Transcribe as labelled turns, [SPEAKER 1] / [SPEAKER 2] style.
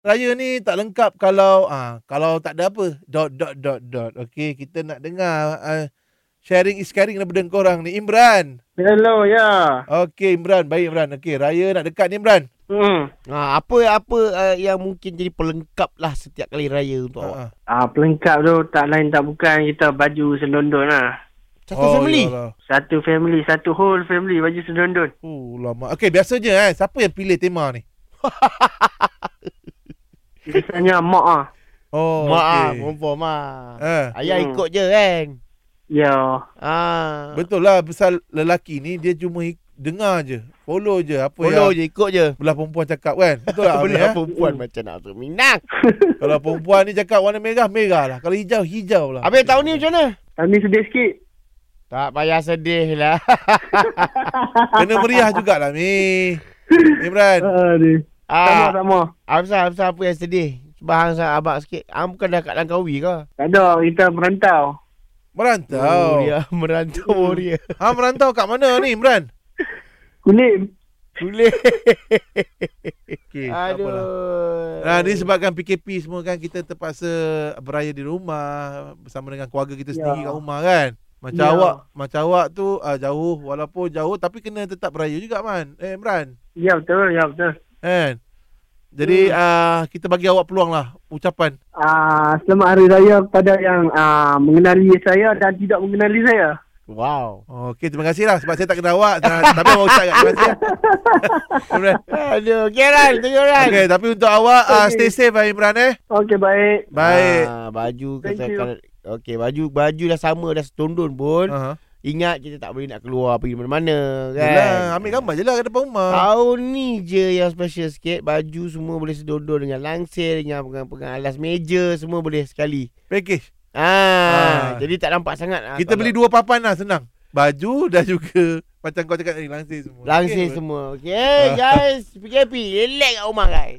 [SPEAKER 1] Raya ni tak lengkap kalau ah kalau tak ada apa dot dot dot dot. Okey, kita nak dengar uh, sharing is caring daripada korang ni Imran.
[SPEAKER 2] Hello, ya.
[SPEAKER 1] Okey Imran, baik Imran. Okey, raya nak dekat ni Imran.
[SPEAKER 2] Hmm.
[SPEAKER 3] Ha, apa apa uh, yang mungkin jadi pelengkap lah setiap kali raya untuk awak?
[SPEAKER 1] Ha.
[SPEAKER 2] Ah, pelengkap tu tak lain tak bukan kita baju selondon lah.
[SPEAKER 3] Satu oh, family.
[SPEAKER 1] Yalah.
[SPEAKER 2] Satu family, satu whole family baju selondon.
[SPEAKER 1] Oh, lama. Okey, biasanya eh siapa yang pilih tema ni?
[SPEAKER 2] Biasanya mak ah.
[SPEAKER 1] Oh,
[SPEAKER 3] Mak ah,
[SPEAKER 1] okey.
[SPEAKER 3] perempuan mak.
[SPEAKER 1] Ah.
[SPEAKER 3] Ayah
[SPEAKER 2] Hmm.
[SPEAKER 3] ikut je kan.
[SPEAKER 2] Ya.
[SPEAKER 3] Ah.
[SPEAKER 1] Betul lah pasal lelaki ni dia cuma ik- dengar je, follow je apa
[SPEAKER 3] Follow
[SPEAKER 1] yang
[SPEAKER 3] je, ikut je.
[SPEAKER 1] belah perempuan cakap kan. ya. Betul tak? Amir, eh?
[SPEAKER 3] Belah perempuan macam nak minang.
[SPEAKER 1] Kalau perempuan ni cakap warna merah, merah lah. Kalau hijau, hijau lah.
[SPEAKER 3] Habis tahun ni macam mana?
[SPEAKER 2] Tahun ni sedih sikit.
[SPEAKER 3] Tak payah sedih lah.
[SPEAKER 1] Kena meriah jugalah, Mi. Imran.
[SPEAKER 2] Aduh. Sama,
[SPEAKER 3] Ah,
[SPEAKER 2] sama.
[SPEAKER 3] Hamzah, Hamzah apa yang sedih? Sebab Hamzah abang sikit. Hang bukan dah kat Langkawi ke?
[SPEAKER 2] Tak ada, kita merantau.
[SPEAKER 1] Merantau.
[SPEAKER 3] Oh, dia merantau dia.
[SPEAKER 1] ha, merantau kat mana ni, Imran?
[SPEAKER 2] Kulim.
[SPEAKER 3] Boleh.
[SPEAKER 1] Okey, Eh, tak apalah.
[SPEAKER 3] Aduh.
[SPEAKER 1] Nah, disebabkan PKP semua kan kita terpaksa beraya di rumah bersama dengan keluarga kita
[SPEAKER 2] Ya.
[SPEAKER 1] sendiri kat rumah kan. Macam
[SPEAKER 2] Ya.
[SPEAKER 1] awak, macam awak tu uh, jauh walaupun jauh tapi kena tetap beraya juga man. Eh Imran.
[SPEAKER 2] Ya, betul, ya, betul.
[SPEAKER 1] Kan?
[SPEAKER 2] Hmm.
[SPEAKER 1] Jadi uh, kita bagi awak peluang lah ucapan.
[SPEAKER 2] Ah, selamat hari raya kepada yang ah, mengenali saya dan tidak mengenali saya.
[SPEAKER 3] Wow.
[SPEAKER 1] Okey, terima kasih lah sebab saya tak kenal awak. Nah, tapi awak ucap kat terima kasih. lah. Imran.
[SPEAKER 3] Aduh, Geran, tengok Ran.
[SPEAKER 1] Okey, tapi untuk awak uh,
[SPEAKER 2] Okey.
[SPEAKER 1] stay safe eh, Imran eh.
[SPEAKER 2] Okey, baik.
[SPEAKER 1] Baik.
[SPEAKER 3] Ah, baju
[SPEAKER 2] Thank
[SPEAKER 3] kata
[SPEAKER 2] you.
[SPEAKER 3] kalau Okey, baju baju dah sama dah setundun pun.
[SPEAKER 1] Uh-huh.
[SPEAKER 3] Ingat kita tak boleh nak keluar pergi mana-mana kan.
[SPEAKER 1] Yelah, ambil gambar je lah kat depan rumah.
[SPEAKER 3] Tahun ni je yang special sikit Baju semua boleh sedodol dengan langsir Dengan pegang-pegang alas meja Semua boleh sekali
[SPEAKER 1] Package. Ah.
[SPEAKER 3] Ah, Jadi tak nampak sangat ah,
[SPEAKER 1] Kita
[SPEAKER 3] kalau-
[SPEAKER 1] beli dua papan lah senang. Baju dan juga macam kau cakap tadi langsir semua.
[SPEAKER 3] Langsir
[SPEAKER 1] Okey.
[SPEAKER 3] semua Okay guys PKP Relax kat rumah guys